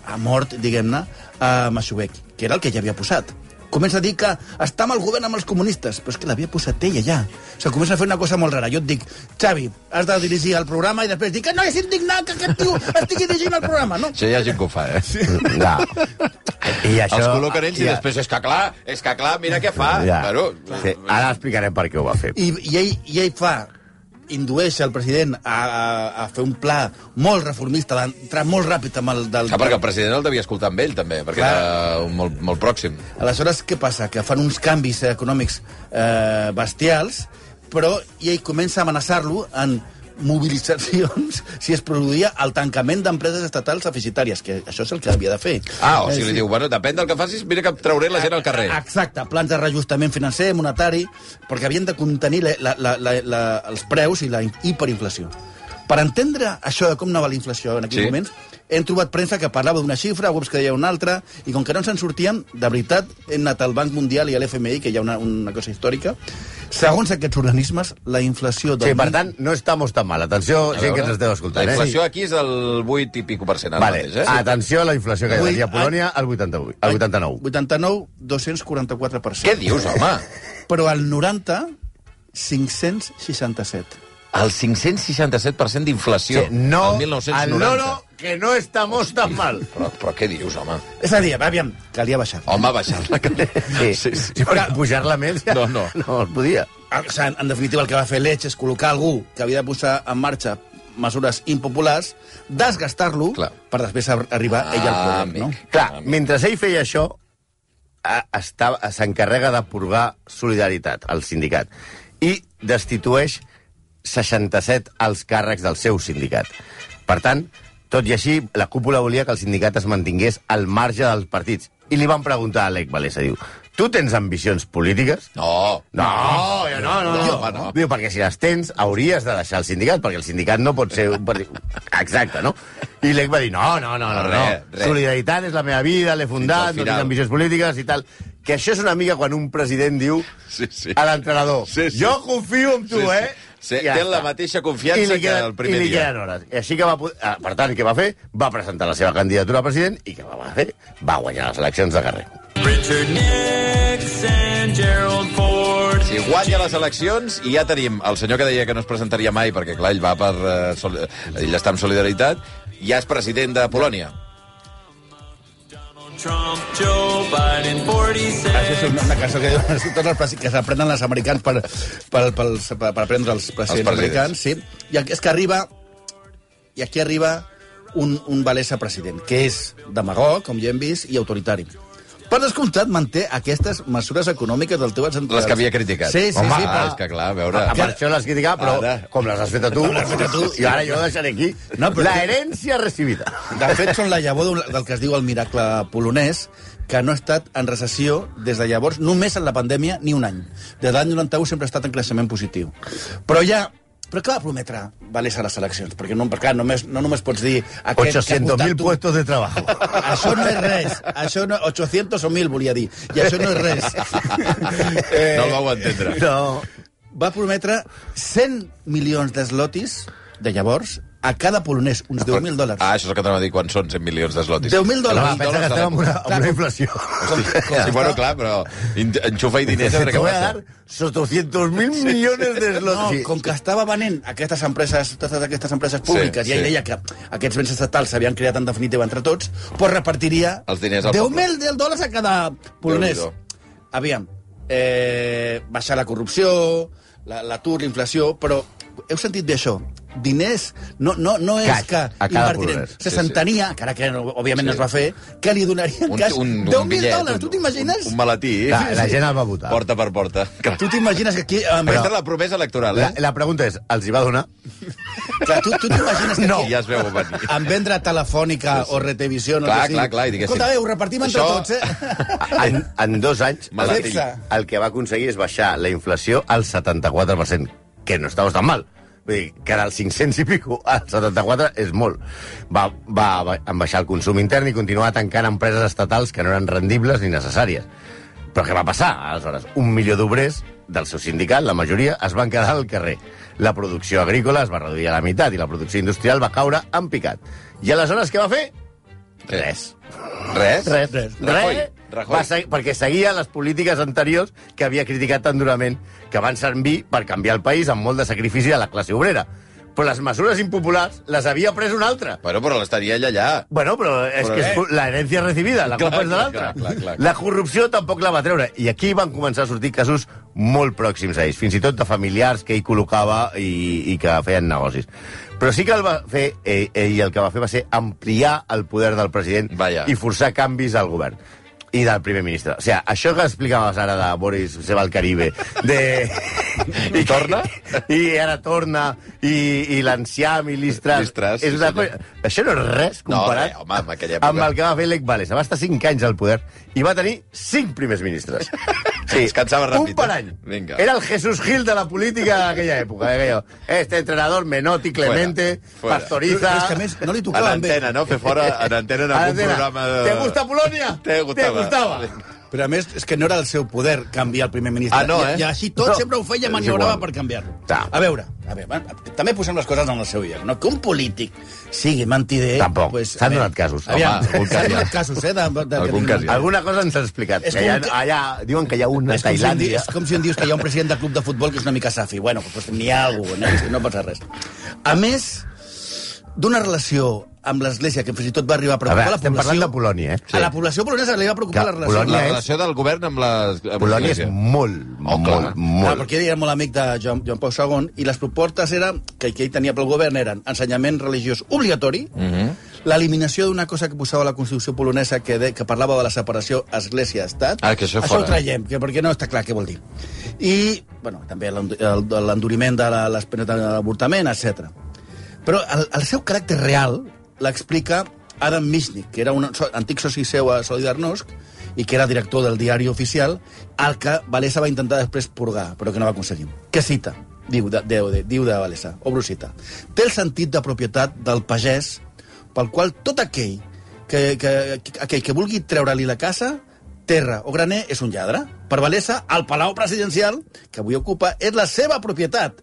[SPEAKER 4] a mort, diguem-ne, a Masubek, que era el que ja havia posat. Comença a dir que està amb el govern amb els comunistes, però és que l'havia posat ella ja. O sigui, comença a fer una cosa molt rara. Jo et dic, Xavi, has de dirigir el programa i després dic que no, és indignant que aquest tio estigui dirigint el programa, no?
[SPEAKER 2] Això hi ha gent que ho fa, eh? Sí.
[SPEAKER 3] No. I això...
[SPEAKER 2] Els col·loquen ells i
[SPEAKER 3] ja-
[SPEAKER 2] després, és que clar, és que clar, mira què fa.
[SPEAKER 3] Ja.
[SPEAKER 2] Bueno,
[SPEAKER 3] sí, ara explicarem per què ho va fer.
[SPEAKER 4] I, i, ell, i ell fa indueix el president a, a, a fer un pla molt reformista, d'entrar molt ràpid amb el... Del,
[SPEAKER 2] Ah, perquè el president el devia escoltar amb ell, també, perquè
[SPEAKER 4] Clar.
[SPEAKER 2] era molt, molt pròxim.
[SPEAKER 4] Aleshores, què passa? Que fan uns canvis econòmics eh, bestials, però ell comença a amenaçar-lo en mobilitzacions si es produïa el tancament d'empreses estatals deficitàries, que això és el que havia de fer.
[SPEAKER 2] Ah, o
[SPEAKER 4] Eh,
[SPEAKER 2] sigui, li diu, bueno, depèn del que facis, mira que trauré la gent al carrer.
[SPEAKER 3] Ah,
[SPEAKER 4] Exacte, plans de reajustament financer, monetari, perquè havien de contenir la, la, la, la, la, els preus i la in- hiperinflació. Per entendre això de com anava la inflació en aquells
[SPEAKER 2] Sí.
[SPEAKER 4] sí. moments, hem trobat premsa que parlava d'una xifra, webs que deia una altra, i com que no ens en sortíem, de veritat, hem anat al Banc Mundial i a l'FMI, que hi ha una, una cosa històrica. Segons aquests organismes, la inflació... del
[SPEAKER 3] Sí, per
[SPEAKER 4] mil-
[SPEAKER 3] tant, no estamos tan mal. Atenció,
[SPEAKER 2] doncs- A
[SPEAKER 3] ah, gent que
[SPEAKER 2] veure,
[SPEAKER 3] ens esteu escoltant.
[SPEAKER 2] La inflació
[SPEAKER 3] Eh?
[SPEAKER 2] aquí és del 8 i pico per cent ara
[SPEAKER 3] Vale, Ah,
[SPEAKER 2] mateix, eh?
[SPEAKER 3] atenció a la inflació que hi
[SPEAKER 4] Vuit-
[SPEAKER 3] havia a Polònia al 88, al 89.
[SPEAKER 4] 89, 244%.
[SPEAKER 2] Què dius, home?
[SPEAKER 4] Però al 90, 567.
[SPEAKER 2] El 567% d'inflació.
[SPEAKER 3] Sí, no,
[SPEAKER 2] el
[SPEAKER 3] al
[SPEAKER 2] 1990.
[SPEAKER 3] loro, que no estamos tan mal.
[SPEAKER 2] Però, però què dius, home?
[SPEAKER 4] És a dir, aviam, calia baixar.
[SPEAKER 2] Home, baixar-la. Que...
[SPEAKER 3] Sí, sí, sí, perquè pujar-la més ja
[SPEAKER 2] No, no.
[SPEAKER 3] no es podia.
[SPEAKER 4] Ah, O sigui, en- en definitiva, el que va fer Leitch és col·locar algú que havia de posar en marxa mesures impopulars, desgastar-lo
[SPEAKER 2] Clar.
[SPEAKER 4] per després ar- arribar
[SPEAKER 2] Ah,
[SPEAKER 4] ell al poder,
[SPEAKER 2] amic.
[SPEAKER 4] no?
[SPEAKER 3] Clar, mentre ell feia això, a- estava- s'encarrega de purgar solidaritat al sindicat i destitueix 67 als càrrecs del seu sindicat. Per tant, tot i així, la cúpula volia que el sindicat es mantingués al marge dels partits. I li van preguntar a Alec Valesa, diu, tu tens ambicions polítiques?
[SPEAKER 2] No.
[SPEAKER 3] No, jo no,
[SPEAKER 2] No,
[SPEAKER 3] no, no.
[SPEAKER 2] home, no.
[SPEAKER 3] Diu, perquè si les tens, hauries de deixar el sindicat, perquè el sindicat no pot ser... un partit- Exacte, no? I l'Ec va dir, no, no, no, no, no.
[SPEAKER 2] Res, res.
[SPEAKER 3] Solidaritat és la meva vida, l'he fundat,
[SPEAKER 2] Fins al
[SPEAKER 3] no tinc
[SPEAKER 2] final.
[SPEAKER 3] ambicions polítiques i tal. Que això és una mica quan un president diu
[SPEAKER 2] Sí, sí.
[SPEAKER 3] a l'entrenador,
[SPEAKER 2] Sí, sí.
[SPEAKER 3] jo confio en tu,
[SPEAKER 2] Sí, sí.
[SPEAKER 3] eh?
[SPEAKER 2] Sí,
[SPEAKER 3] I
[SPEAKER 2] té
[SPEAKER 3] està.
[SPEAKER 2] la mateixa confiança
[SPEAKER 3] I li
[SPEAKER 2] que el primer
[SPEAKER 3] i li
[SPEAKER 2] dia.
[SPEAKER 3] queden hores. I així que va, poder- ah, per tant, què va fer? Va presentar la seva candidatura a president i què va fer? Va guanyar les eleccions de carrer.
[SPEAKER 7] Richard Nixon, Gerald Ford.
[SPEAKER 2] Si guanya les eleccions i ja tenim el senyor que deia que no es presentaria mai, perquè clar, ell va per... eh, Sol... ell està en solidaritat, ja és president de Polònia.
[SPEAKER 7] Trump, Joe Biden, 46.
[SPEAKER 4] Això és una, una cançó que diuen tots els presi- que s'aprenen els americans per, per, per, per, per aprendre els presidents
[SPEAKER 2] Els
[SPEAKER 4] americans. Sí. I el- és que arriba... I aquí arriba un, un Valesa president, que és demagog, com ja hem vist, i autoritari. Per descomptat, manté aquestes mesures econòmiques del teu entrenador.
[SPEAKER 2] Les que havia criticat.
[SPEAKER 4] Sí, sí,
[SPEAKER 2] Home,
[SPEAKER 4] sí.
[SPEAKER 2] ah, és que clar, a veure...
[SPEAKER 3] Ah, per això l'has criticat, però
[SPEAKER 2] Ara.
[SPEAKER 3] com les has fet a tu,
[SPEAKER 4] les has fet a tu.
[SPEAKER 3] i ara jo deixaré aquí
[SPEAKER 4] No, però-
[SPEAKER 3] la herència recibida.
[SPEAKER 4] De fet, són la llavor d'un- del que es diu el miracle polonès, que no ha estat en recessió des de llavors, només en la pandèmia, ni un any. Des de l'any 91 sempre ha estat en creixement positiu. Però ja... Però què va prometre Valés a les eleccions? Perquè no, perquè clar, només, no només pots dir... aquest que ha
[SPEAKER 3] 800.000
[SPEAKER 4] apostat tu-
[SPEAKER 3] puestos de trabajo.
[SPEAKER 4] Això no és res. Això no, 800 o 1.000, volia dir. I això no és res. Eh,
[SPEAKER 2] No el vau entendre.
[SPEAKER 3] No.
[SPEAKER 4] va prometre 100 milions d'eslotis de llavors a cada polonès, uns 10.000 dòlars.
[SPEAKER 2] Ah, això és el que t'anava a dir quan són 100 milions d'eslotis. Ah,
[SPEAKER 4] 10.000
[SPEAKER 3] Però
[SPEAKER 4] dòlars.
[SPEAKER 3] pensa Ah, que estem amb una, amb
[SPEAKER 4] Clar,
[SPEAKER 3] una inflació.
[SPEAKER 2] Sí, bueno, clar, però in- enxufa-hi diners a veure
[SPEAKER 3] Te
[SPEAKER 2] què
[SPEAKER 3] voy a
[SPEAKER 2] passa.
[SPEAKER 3] dar esos 200.000 millones de
[SPEAKER 4] No,
[SPEAKER 3] slots.
[SPEAKER 4] com que estava venent aquestes empreses, totes aquestes empreses
[SPEAKER 2] Sí,
[SPEAKER 4] públiques, sí, i ell
[SPEAKER 2] sí.
[SPEAKER 4] deia que aquests béns estatals s'havien creat en definitiva entre tots, doncs repartiria
[SPEAKER 2] Els diners al poble.
[SPEAKER 4] 10.000 dòlars a cada polonès.
[SPEAKER 2] Déu-n'hi-do.
[SPEAKER 4] Aviam, eh, baixar la corrupció, la- l'atur, la, inflació, però heu sentit bé això? Diners no, no, no és
[SPEAKER 3] Cash,
[SPEAKER 4] que
[SPEAKER 3] a cada
[SPEAKER 4] invertirem.
[SPEAKER 3] polonès.
[SPEAKER 2] Sí,
[SPEAKER 4] Se
[SPEAKER 2] sí.
[SPEAKER 4] s'entenia, sí, encara que no,
[SPEAKER 2] Sí.
[SPEAKER 4] òbviament sí. no es va fer, que li donarien
[SPEAKER 2] Un,
[SPEAKER 4] cash
[SPEAKER 2] un, un
[SPEAKER 4] 10.000
[SPEAKER 2] bitllet,
[SPEAKER 4] dòlars, tu t'imagines?
[SPEAKER 2] Un, un maletí.
[SPEAKER 3] La, la gent el va votar.
[SPEAKER 2] Porta per porta. Clar.
[SPEAKER 4] Tu t'imagines que aquí... amb-
[SPEAKER 2] Aquesta és la promesa electoral,
[SPEAKER 3] La,
[SPEAKER 2] eh?
[SPEAKER 3] la pregunta és, els hi va donar?
[SPEAKER 4] Clar, tu tu t'imagines que aquí...
[SPEAKER 2] Ja es veu venir.
[SPEAKER 4] en vendre telefònica sí, sí. o retevisió, no
[SPEAKER 2] Clar,
[SPEAKER 4] sé si...
[SPEAKER 2] clar, clar, i diguéssim,
[SPEAKER 4] Escolta, bé, ho repartim entre
[SPEAKER 2] això-
[SPEAKER 4] tots, eh?
[SPEAKER 3] En, en dos anys,
[SPEAKER 2] Malatí.
[SPEAKER 3] el, el que va aconseguir és baixar la inflació al 74%, que no estava tan mal. Vull dir, que era el 500 i pico, al 74 és molt. Va, va, va en baixar el consum intern i continuar tancant empreses estatals que no eren rendibles ni necessàries. Però què va passar, aleshores? Un milió d'obrers del seu sindicat, la majoria, es van quedar al carrer. La producció agrícola es va reduir a la meitat i la producció industrial va caure en picat. I aleshores què va fer? Res.
[SPEAKER 2] Res?
[SPEAKER 3] Res, res.
[SPEAKER 2] Rajoy. Rajoy.
[SPEAKER 3] Va seguir, perquè seguia les polítiques anteriors que havia criticat tan durament, que van servir per canviar el país amb molt de sacrifici de la classe obrera. Però les mesures impopulars les havia pres un altre.
[SPEAKER 2] Bueno, però l'estaria ell allà.
[SPEAKER 3] Bueno, però és
[SPEAKER 2] Però
[SPEAKER 3] que és
[SPEAKER 2] bé.
[SPEAKER 3] cu- la herència recibida, la
[SPEAKER 2] Clar,
[SPEAKER 3] culpa és de
[SPEAKER 2] clar, clar, clar,
[SPEAKER 3] l'altre.
[SPEAKER 2] clar.
[SPEAKER 3] La corrupció tampoc la va treure. I aquí van començar a sortir casos molt pròxims a ells, fins i tot de familiars que ell col·locava i, i que feien negocis. Però sí que el va fer, e, ell, ell el que va fer va ser ampliar el poder del president
[SPEAKER 2] Vaja.
[SPEAKER 3] i forçar canvis al govern. i del primer ministre. O sigui, això que explicaves ara de Boris se va al Caribe, de... I
[SPEAKER 2] Torna?
[SPEAKER 3] I ara torna, i, i l'enciam, i l'Istras...
[SPEAKER 2] L'Istras,
[SPEAKER 3] És
[SPEAKER 2] sí,
[SPEAKER 3] una
[SPEAKER 2] senyor.
[SPEAKER 3] cosa... Això no és res
[SPEAKER 2] No,
[SPEAKER 3] comparat
[SPEAKER 2] res, home, en aquella època.
[SPEAKER 3] amb el que va fer Lech Walesa. Va estar 5 anys al poder i va tenir 5 primers ministres.
[SPEAKER 2] Es cansava ràpid,
[SPEAKER 3] Un per
[SPEAKER 2] eh?
[SPEAKER 3] any.
[SPEAKER 2] Vinga.
[SPEAKER 3] Era el Jesús Gil de la política d'aquella època. Eh? aquello, Este entrenador, Menotti, Clemente,
[SPEAKER 2] Fuera.
[SPEAKER 3] Pastoriza...
[SPEAKER 4] Però és que, a més, no li
[SPEAKER 2] En
[SPEAKER 4] tocava amb ell.
[SPEAKER 2] antena, no? Fer fora en antena en
[SPEAKER 3] Ara,
[SPEAKER 2] algun
[SPEAKER 3] Adela,
[SPEAKER 2] programa... De...
[SPEAKER 3] ¿Te gusta Polònia?
[SPEAKER 2] Te gustava.
[SPEAKER 4] Però a més, és que no era el seu poder canviar el primer ministre.
[SPEAKER 2] Ah, no, eh?
[SPEAKER 4] I, I així tot
[SPEAKER 3] No.
[SPEAKER 4] no. sempre ho feia,
[SPEAKER 3] És
[SPEAKER 4] maniobrava
[SPEAKER 3] igual.
[SPEAKER 4] per canviar-lo.
[SPEAKER 3] Ta.
[SPEAKER 4] A veure, a veure, va, també posem les coses en el seu lloc. No? Que un polític sigui mentider...
[SPEAKER 3] Tampoc. S'han
[SPEAKER 4] a veure,
[SPEAKER 3] donat casos.
[SPEAKER 4] Aviam,
[SPEAKER 2] Home, algun cas hi
[SPEAKER 4] s'han
[SPEAKER 2] ha.
[SPEAKER 4] donat casos, eh? De, de, de,
[SPEAKER 2] Algun cas hi ha.
[SPEAKER 3] Alguna cosa ens has explicat.
[SPEAKER 4] És
[SPEAKER 3] Que allà,
[SPEAKER 4] com que-
[SPEAKER 3] allà, diuen que hi ha una a
[SPEAKER 4] És com, si em di-
[SPEAKER 3] Tailàndia.
[SPEAKER 4] és com si em dius que hi ha un president de club de futbol que és una mica safi. Bueno, doncs n'hi ha algú, no? És que no passa res. A més, d'una relació amb l'Església que fins i tot va arribar a
[SPEAKER 3] A
[SPEAKER 4] preocupar
[SPEAKER 3] veure,
[SPEAKER 4] la
[SPEAKER 3] estem
[SPEAKER 4] població...
[SPEAKER 3] parlant de Polònia, eh?
[SPEAKER 4] A la població polonesa li va preocupar
[SPEAKER 3] Que
[SPEAKER 4] la relació.
[SPEAKER 3] Polònia
[SPEAKER 2] La
[SPEAKER 3] és-
[SPEAKER 2] relació del govern amb les... amb
[SPEAKER 3] eh? Polònia és
[SPEAKER 2] l'Església.
[SPEAKER 3] molt,
[SPEAKER 2] Oh, clar.
[SPEAKER 3] molt,
[SPEAKER 4] Clar,
[SPEAKER 3] molt...
[SPEAKER 4] perquè ell era molt amic de Joan, Joan Pau II i les propostes era, que, que ell tenia pel govern eren ensenyament religiós obligatori, mm
[SPEAKER 2] Mhm.
[SPEAKER 4] -hmm. l'eliminació d'una cosa que posava la Constitució polonesa que, de, que parlava de la separació església-estat.
[SPEAKER 2] Ah, que això
[SPEAKER 4] això
[SPEAKER 2] fora.
[SPEAKER 4] ho traiem, que, perquè no està clar què vol dir. I, bueno, també l'end- el- l'enduriment de la- les penes de l'avortament, etc. Però el, el seu caràcter real l'explica Adam Michnik, que era un so, antic soci seu a Solidarnosc i que era director del diari oficial, el que Valesa va intentar després purgar, però que no va aconseguir. Què cita? Diu de, de, de, diu de Valesa, obro cita. Té el sentit de propietat del pagès pel qual tot aquell que, que, que, aquell que vulgui treure-li la casa, terra o graner és un lladre. Per Valesa, el palau presidencial que avui ocupa és la seva propietat.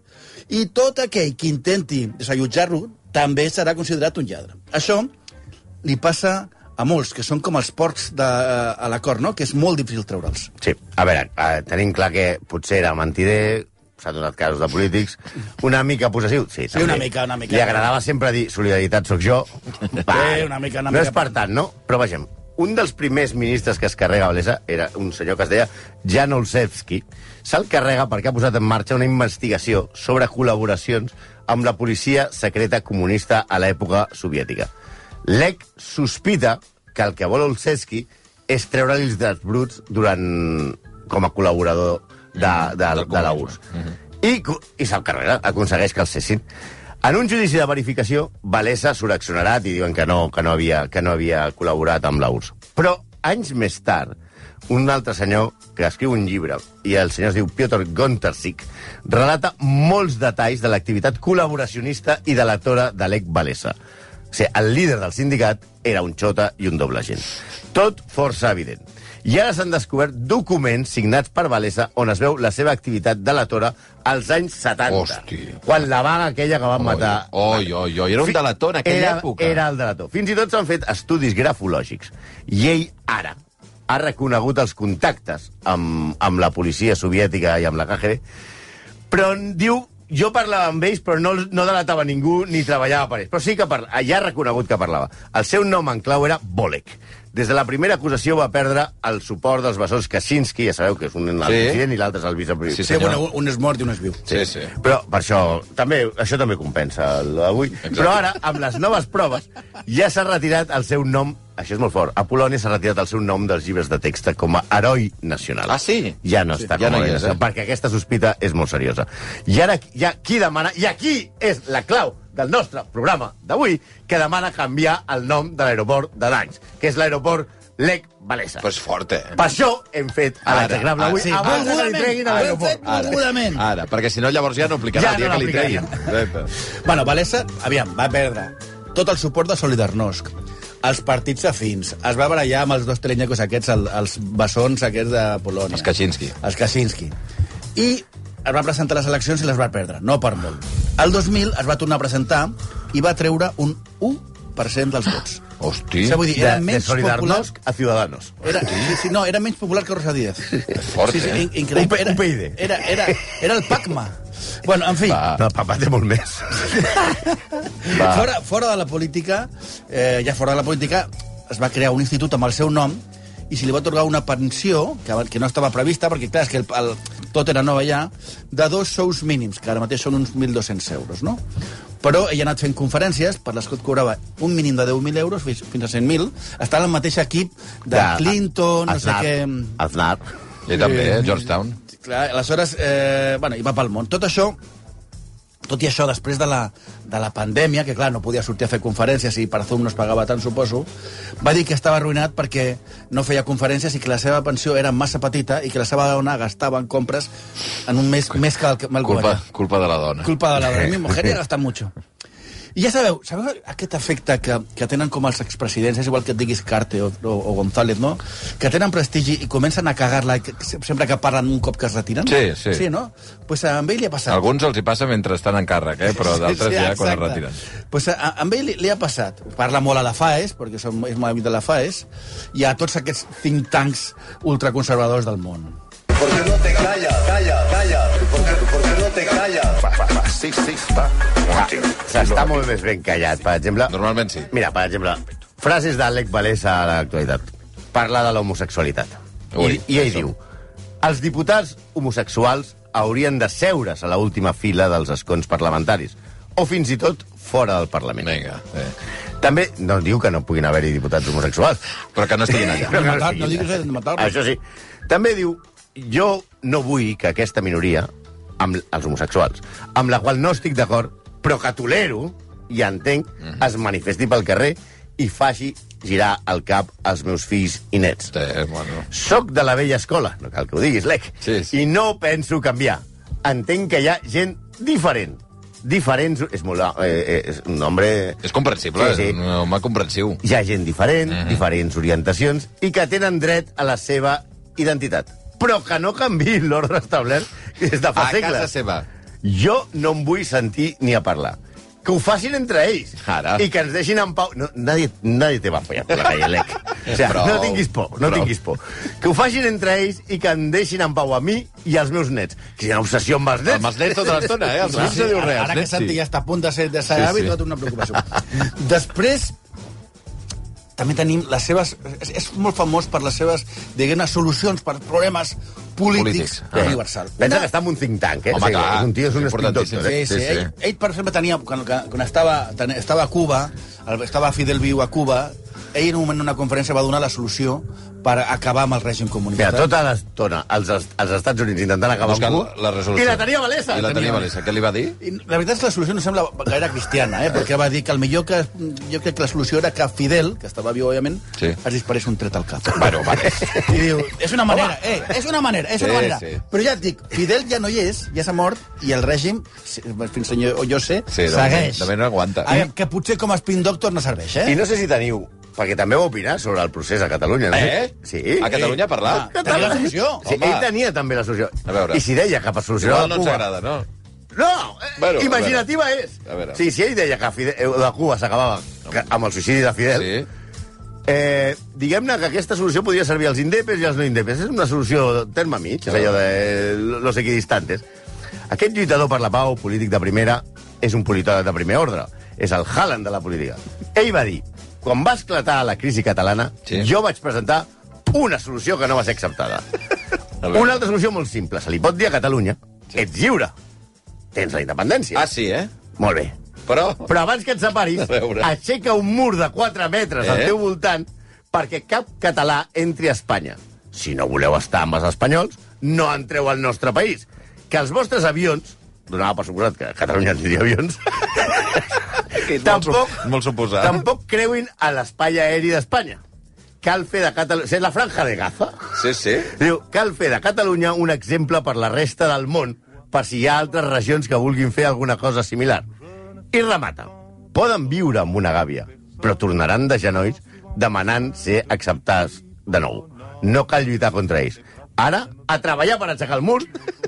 [SPEAKER 4] I tot aquell que intenti desallotjar-lo també serà considerat un lladre. Això li passa a molts, que són com els porcs de, eh, a la cor, no? que és molt difícil treure'ls.
[SPEAKER 3] Sí, a veure, eh, tenim clar que potser era mentider, s'ha donat casos de polítics, una mica possessiu, sí, també.
[SPEAKER 4] una mica, una mica.
[SPEAKER 3] Li agradava sempre dir solidaritat sóc jo.
[SPEAKER 4] Sí, una mica,
[SPEAKER 3] No
[SPEAKER 4] una mica.
[SPEAKER 3] és per tant, no? Però vegem, un dels primers ministres que es carrega Blesa era un senyor que es deia Jan Olszewski. Se'l carrega perquè ha posat en marxa una investigació sobre col·laboracions amb la policia secreta comunista a l'època soviètica. Lec sospita que el que vol Olszewski és treure-li els drets bruts durant... com a col·laborador de, de, de, de la URSS. I, co- i se'l carrega, aconsegueix que el cessin. En un judici de verificació, Valesa suraccionarat i diuen que no, que no havia, que no havia col·laborat amb la URSS. Però anys més tard, un altre senyor que escriu un llibre, i el senyor es diu Piotr Gontarsik, relata molts detalls de l'activitat col·laboracionista i de l'actora d'Alec Valesa. O sigui, el líder del sindicat era un xota i un doble agent. Tot força evident. I ara s'han descobert documents signats per Valesa on es veu la seva activitat de la Tora als anys 70.
[SPEAKER 2] Hòstia.
[SPEAKER 3] Quan la vaga aquella que van matar...
[SPEAKER 2] Oi, oi, oi, era un
[SPEAKER 3] Fi-
[SPEAKER 2] delató en aquella
[SPEAKER 3] era,
[SPEAKER 2] època.
[SPEAKER 3] Era el delató. Fins i tot s'han fet estudis grafològics. I ell ara ha reconegut els contactes amb, amb la policia soviètica i amb la KGB, però en diu jo parlava amb ells, però no, no delatava ningú ni treballava per ells. Però sí que parla, ah, ja ha reconegut que parlava. El seu nom en clau era Bolek. Des de la primera acusació va perdre el suport dels bessons Kaczynski, ja sabeu que és un el
[SPEAKER 2] Sí.
[SPEAKER 3] president i l'altre és el vicepresident.
[SPEAKER 2] Sí,
[SPEAKER 4] Sí,
[SPEAKER 2] senyor.
[SPEAKER 4] bueno, un és mort i un és viu.
[SPEAKER 2] Sí, sí.
[SPEAKER 3] Però per això també, això també compensa avui. Però ara, amb les noves proves, ja s'ha retirat el seu nom, això és molt fort, a Polònia s'ha retirat el seu nom dels llibres de text com a heroi nacional.
[SPEAKER 2] Ah, sí?
[SPEAKER 3] Ja no està
[SPEAKER 2] ja
[SPEAKER 3] com
[SPEAKER 2] no
[SPEAKER 3] a
[SPEAKER 2] hi
[SPEAKER 3] heroi
[SPEAKER 2] és,
[SPEAKER 3] nacional,
[SPEAKER 2] eh?
[SPEAKER 3] perquè aquesta sospita és molt seriosa. I ara, ja, qui demana, i aquí és la clau del nostre programa d'avui, que demana canviar el nom de l'aeroport de Danys, que és l'aeroport Lech Walesa.
[SPEAKER 2] Però és fort, eh?
[SPEAKER 3] Per això hem fet a
[SPEAKER 2] Ara,
[SPEAKER 3] l'execrable
[SPEAKER 2] ara,
[SPEAKER 3] avui,
[SPEAKER 2] sí, Ah,
[SPEAKER 3] abans que li
[SPEAKER 4] volgudament,
[SPEAKER 3] treguin a
[SPEAKER 4] ho hem
[SPEAKER 3] l'aeroport.
[SPEAKER 4] fet volgudament.
[SPEAKER 2] Ara, perquè si no llavors ja no aplicarà
[SPEAKER 3] Ja
[SPEAKER 2] el dia
[SPEAKER 3] no
[SPEAKER 2] que li treguin.
[SPEAKER 3] l'aplicarien.
[SPEAKER 2] Exacte.
[SPEAKER 4] Bueno, Valesa, aviam, va perdre tot el suport de Solidarnosc, els partits afins, es va barallar amb els dos telenyacos aquests, el, els bessons aquests de Polònia.
[SPEAKER 2] Els Kaczynski.
[SPEAKER 4] Els Kaczynski. I es va presentar a les eleccions i les va perdre, no per molt. El 2000 es va tornar a presentar i va treure un 1% dels vots.
[SPEAKER 2] Hosti,
[SPEAKER 4] Això vull dir, era menys popular...
[SPEAKER 3] Solidarnosc a Ciudadanos.
[SPEAKER 4] Era, sí, sí, no, era menys popular que Rosa Díaz.
[SPEAKER 2] fort,
[SPEAKER 4] Sí, sí,
[SPEAKER 2] eh?
[SPEAKER 4] in- increïble.
[SPEAKER 3] Un P- un PID.
[SPEAKER 4] Era, era, era, era el PACMA. Bueno, en fi...
[SPEAKER 3] No, papà té molt més.
[SPEAKER 4] Va. Fora, fora de la política, eh, ja fora de la política, es va crear un institut amb el seu nom i se li va atorgar una pensió, que, abans- que no estava prevista, perquè clar, és que el, el, tot era nova ja, de dos sous mínims, que ara mateix són uns 1.200 euros, no? Però ell ha anat fent conferències per les que et cobrava un mínim de 10.000 euros fins, fins a 100.000. Està en el mateix equip de ja, Clinton, no sé
[SPEAKER 3] Aznar,
[SPEAKER 4] què...
[SPEAKER 3] Aznar.
[SPEAKER 2] Jo també, eh? Georgetown.
[SPEAKER 4] Clar, aleshores, eh, bueno, i va pel món. Tot això, tot i això, després de la, de la pandèmia, que clar, no podia sortir a fer conferències i per Zoom no es pagava tant, suposo, va dir que estava arruïnat perquè no feia conferències i que la seva pensió era massa petita i que la seva dona gastava en compres en un mes més que el que mal
[SPEAKER 2] Culpa,
[SPEAKER 4] guanyava.
[SPEAKER 2] culpa de la dona.
[SPEAKER 4] Culpa de la dona. Mi mujer ja gasta mucho. I ja sabeu, sabeu aquest efecte que, que tenen com els expresidents, és igual que et diguis Carte o, o, o González, no? Que tenen prestigi i comencen a cagar-la que- se- sempre que parlen un cop que es retiren.
[SPEAKER 2] Sí, sí.
[SPEAKER 4] Sí, no? Doncs pues a ell li ha passat.
[SPEAKER 2] Alguns els hi passa mentre estan en càrrec, eh? però d'altres sí, sí, ja quan es retiren.
[SPEAKER 4] Pues a, a, amb ell li, li, ha passat. Parla molt a la FAES, perquè som, és molt amic de la FAES, i a tots aquests think tanks ultraconservadors del món.
[SPEAKER 3] S'està molt més ben callat, per exemple.
[SPEAKER 2] Normalment sí.
[SPEAKER 3] Mira, per exemple, frases d'Àlec Valesa a l'actualitat. Parla de l'homosexualitat.
[SPEAKER 2] Ui,
[SPEAKER 3] I, I ell
[SPEAKER 2] això.
[SPEAKER 3] diu... Els diputats homosexuals haurien de seure's a la última fila dels escons parlamentaris, o fins i tot fora del Parlament.
[SPEAKER 2] Vinga. Eh.
[SPEAKER 3] També no diu que no puguin haver-hi diputats homosexuals.
[SPEAKER 2] Però que no estiguin allà.
[SPEAKER 3] Però que
[SPEAKER 4] Matar-
[SPEAKER 3] siguin
[SPEAKER 4] no diguis
[SPEAKER 3] allà.
[SPEAKER 4] res de matar-los.
[SPEAKER 3] Això sí. També diu, jo no vull que aquesta minoria, amb els homosexuals, amb la qual no estic d'acord, però que tolero i entenc, es manifesti pel carrer i faci girar el cap als meus fills i nets.
[SPEAKER 2] Eh, bueno.
[SPEAKER 3] Soc de la vella escola, no cal que ho diguis, Lec,
[SPEAKER 2] Sí, sí.
[SPEAKER 3] i no penso canviar. Entenc que hi ha gent diferent. Diferents... És molt... Eh, eh, és un home...
[SPEAKER 2] És comprensible,
[SPEAKER 3] Sí, sí.
[SPEAKER 2] és un home comprensiu.
[SPEAKER 3] Hi ha gent diferent,
[SPEAKER 2] Mhm.
[SPEAKER 3] mm -hmm. diferents orientacions, i que tenen dret a la seva identitat. Però que no canvi l'ordre establert des de fa
[SPEAKER 2] A
[SPEAKER 3] segles.
[SPEAKER 2] casa seva.
[SPEAKER 3] Jo no em vull sentir ni a parlar. Que ho facin entre ells.
[SPEAKER 2] Ara.
[SPEAKER 3] I que ens deixin en pau. No, nadie, nadie te va a follar per la calle, Lec. O sea,
[SPEAKER 2] Prou,
[SPEAKER 3] no tinguis por, no
[SPEAKER 2] prou.
[SPEAKER 3] tinguis por. Que ho facin entre ells i que em deixin en pau a mi i als meus nets. Que hi ha una obsessió amb els nets.
[SPEAKER 2] Amb els nets tota l'estona, eh? Els
[SPEAKER 4] Sí,
[SPEAKER 2] nens
[SPEAKER 4] sí,
[SPEAKER 2] no diu
[SPEAKER 4] ara,
[SPEAKER 2] res.
[SPEAKER 4] ara que
[SPEAKER 2] els nens
[SPEAKER 4] Santi
[SPEAKER 2] sí.
[SPEAKER 4] ja està a punt de ser de ser
[SPEAKER 2] Sí,
[SPEAKER 4] sí, avi,
[SPEAKER 2] sí.
[SPEAKER 4] sí. una preocupació. Després, també tenim les seves... És, és molt famós per les seves, diguem-ne, solucions per problemes polítics,
[SPEAKER 2] Polítics,
[SPEAKER 4] polítics.
[SPEAKER 2] ah.
[SPEAKER 4] universal.
[SPEAKER 3] Pensa que està en un think tank, eh?
[SPEAKER 2] Home, clar,
[SPEAKER 3] és un tio és un speed
[SPEAKER 2] importantíssim.
[SPEAKER 3] doctor, eh?
[SPEAKER 4] Sí, sí,
[SPEAKER 2] Sí,
[SPEAKER 4] sí,
[SPEAKER 2] sí.
[SPEAKER 4] Ell, ell, per exemple, tenia, quan, quan estava, ten- estava a Cuba, el- estava Fidel viu a Cuba, ell en un moment en una conferència va donar la solució per acabar amb el règim comunista.
[SPEAKER 3] Mira, tota l'estona, els, est- els Estats Units intentant acabar
[SPEAKER 2] Buscant
[SPEAKER 3] amb Cuba...
[SPEAKER 2] la resolució.
[SPEAKER 3] I la tenia Valesa!
[SPEAKER 2] I la tenia Valesa. Què li va dir?
[SPEAKER 4] I La veritat és que la solució no sembla gaire cristiana, eh? perquè va dir que el millor que... Jo crec que la solució era que Fidel, que estava viu, òbviament,
[SPEAKER 2] Sí.
[SPEAKER 4] es disparés un tret al cap.
[SPEAKER 2] Bueno, vale.
[SPEAKER 4] I diu, és una manera, eh, és una manera, és una
[SPEAKER 2] Sí,
[SPEAKER 4] manera.
[SPEAKER 2] sí.
[SPEAKER 4] Però ja et dic, Fidel ja no hi és, ja s'ha mort, i el règim, si- fins on jo, jo sé,
[SPEAKER 2] Sí, de moment-
[SPEAKER 4] segueix.
[SPEAKER 2] de moment no aguanta.
[SPEAKER 4] Ah, que potser com a spin doctor no serveix, eh?
[SPEAKER 3] I no sé si teniu... Perquè també va opinar sobre el procés a Catalunya. No? sé-
[SPEAKER 2] Eh?
[SPEAKER 3] Sí.
[SPEAKER 2] A Catalunya a parlar?
[SPEAKER 4] Ah, tenia la solució.
[SPEAKER 3] Sí,
[SPEAKER 2] Home.
[SPEAKER 3] ell tenia també la solució.
[SPEAKER 2] A veure.
[SPEAKER 3] I si deia que per solucionar
[SPEAKER 2] Igual no ens
[SPEAKER 3] Cuba...
[SPEAKER 2] agrada, no?
[SPEAKER 3] No! Eh,
[SPEAKER 2] Bueno, a
[SPEAKER 3] imaginativa és!
[SPEAKER 2] A veure.
[SPEAKER 3] Sí, si ell deia que Fidel, eh, de Cuba s'acabava que- amb el suïcidi de Fidel,
[SPEAKER 2] Sí.
[SPEAKER 3] eh, diguem-ne que aquesta solució podria servir als indepes i als no indepes. És una solució terme mig, és allò de eh, los equidistantes. Aquest lluitador per la pau, polític de primera, és un politòleg de primer ordre. És el Haaland de la política. Ell va dir, quan va esclatar la crisi catalana,
[SPEAKER 2] Sí.
[SPEAKER 3] sí. jo vaig presentar una solució que no va ser acceptada.
[SPEAKER 2] A veure.
[SPEAKER 3] Una altra solució molt simple. Se li pot dir a Catalunya, ets lliure, tens la independència.
[SPEAKER 2] Ah, sí, eh?
[SPEAKER 3] Molt bé.
[SPEAKER 2] Però...
[SPEAKER 3] Però abans que et separis,
[SPEAKER 2] A veure.
[SPEAKER 3] aixeca un mur de 4 metres
[SPEAKER 2] Eh?
[SPEAKER 3] al teu voltant perquè cap català entri a Espanya. Si no voleu estar amb els espanyols, no entreu al nostre país. Que els vostres avions... Donava per suposat que a Catalunya no hi havia avions.
[SPEAKER 2] Molt,
[SPEAKER 3] tampoc,
[SPEAKER 2] su- molt suposat.
[SPEAKER 3] tampoc creuin a l'espai aeri d'Espanya. Cal fer de Catalunya... És la franja de Gaza.
[SPEAKER 2] Sí, sí.
[SPEAKER 3] Diu, cal fer de Catalunya un exemple per la resta del món per si hi ha altres regions que vulguin fer alguna cosa similar. I remata. Poden viure amb una gàbia, però tornaran de genolls demanant ser acceptats de nou. No cal lluitar contra ells. Ara, a treballar per aixecar el mur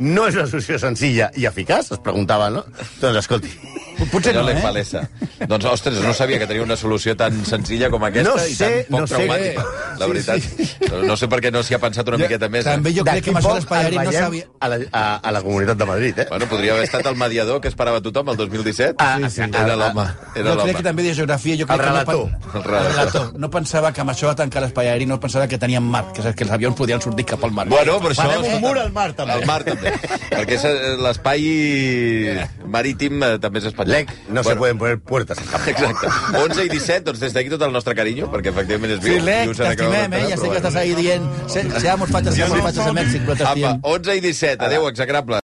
[SPEAKER 3] no és una solució senzilla i eficaç, es preguntava, no? Doncs escolti,
[SPEAKER 2] Potser no, eh? Valesa. Doncs, ostres, no sabia que tenia una solució tan senzilla com aquesta
[SPEAKER 3] No
[SPEAKER 2] i
[SPEAKER 3] sé,
[SPEAKER 2] tan poc
[SPEAKER 3] no sé.
[SPEAKER 2] traumàtica. La
[SPEAKER 3] Sí,
[SPEAKER 2] veritat. No sé per què no s'hi ha pensat una miqueta més.
[SPEAKER 4] També
[SPEAKER 2] Eh?
[SPEAKER 4] jo crec
[SPEAKER 3] d'aquí
[SPEAKER 4] que amb això
[SPEAKER 3] poc
[SPEAKER 4] l'espai
[SPEAKER 3] ens
[SPEAKER 4] aeri no
[SPEAKER 3] veiem
[SPEAKER 4] sabia...
[SPEAKER 3] a, la, a, a la Comunitat de Madrid, eh?
[SPEAKER 2] Bueno, podria haver estat el mediador que esperava tothom el 2017.
[SPEAKER 3] Ah, sí, sí.
[SPEAKER 2] Era l'home. Era
[SPEAKER 4] jo crec
[SPEAKER 2] l'home.
[SPEAKER 4] que també de geografia... Jo crec
[SPEAKER 3] El
[SPEAKER 4] Que no,
[SPEAKER 3] relator.
[SPEAKER 4] pen-
[SPEAKER 2] El relator.
[SPEAKER 4] El relator. No pensava que amb això va tancar l'espai aeri, no pensava que teníem mar, que, saps que els avions podien sortir cap al mar.
[SPEAKER 2] Bueno, però això...
[SPEAKER 3] Farem un mur al mar, també.
[SPEAKER 2] Al mar, també. Perquè és, eh, l'espai marítim eh, també és espanyol.
[SPEAKER 3] Lec, no se pueden poner puertas en Japón.
[SPEAKER 2] Exacte. 11 i 17, doncs des d'aquí tot el nostre carinyo, perquè efectivament és viu.
[SPEAKER 4] Sí, Lec,
[SPEAKER 2] i us han acabat
[SPEAKER 4] t'estimem, eh?
[SPEAKER 2] d'entrar,
[SPEAKER 4] Ja
[SPEAKER 2] però
[SPEAKER 4] sé que
[SPEAKER 2] bueno.
[SPEAKER 4] estàs ahí dient... Se, seamos fachas, seamos fachas a Mèxic, però
[SPEAKER 2] Apa,
[SPEAKER 4] t'estimem.
[SPEAKER 2] 11 i 17, adeu, execrable.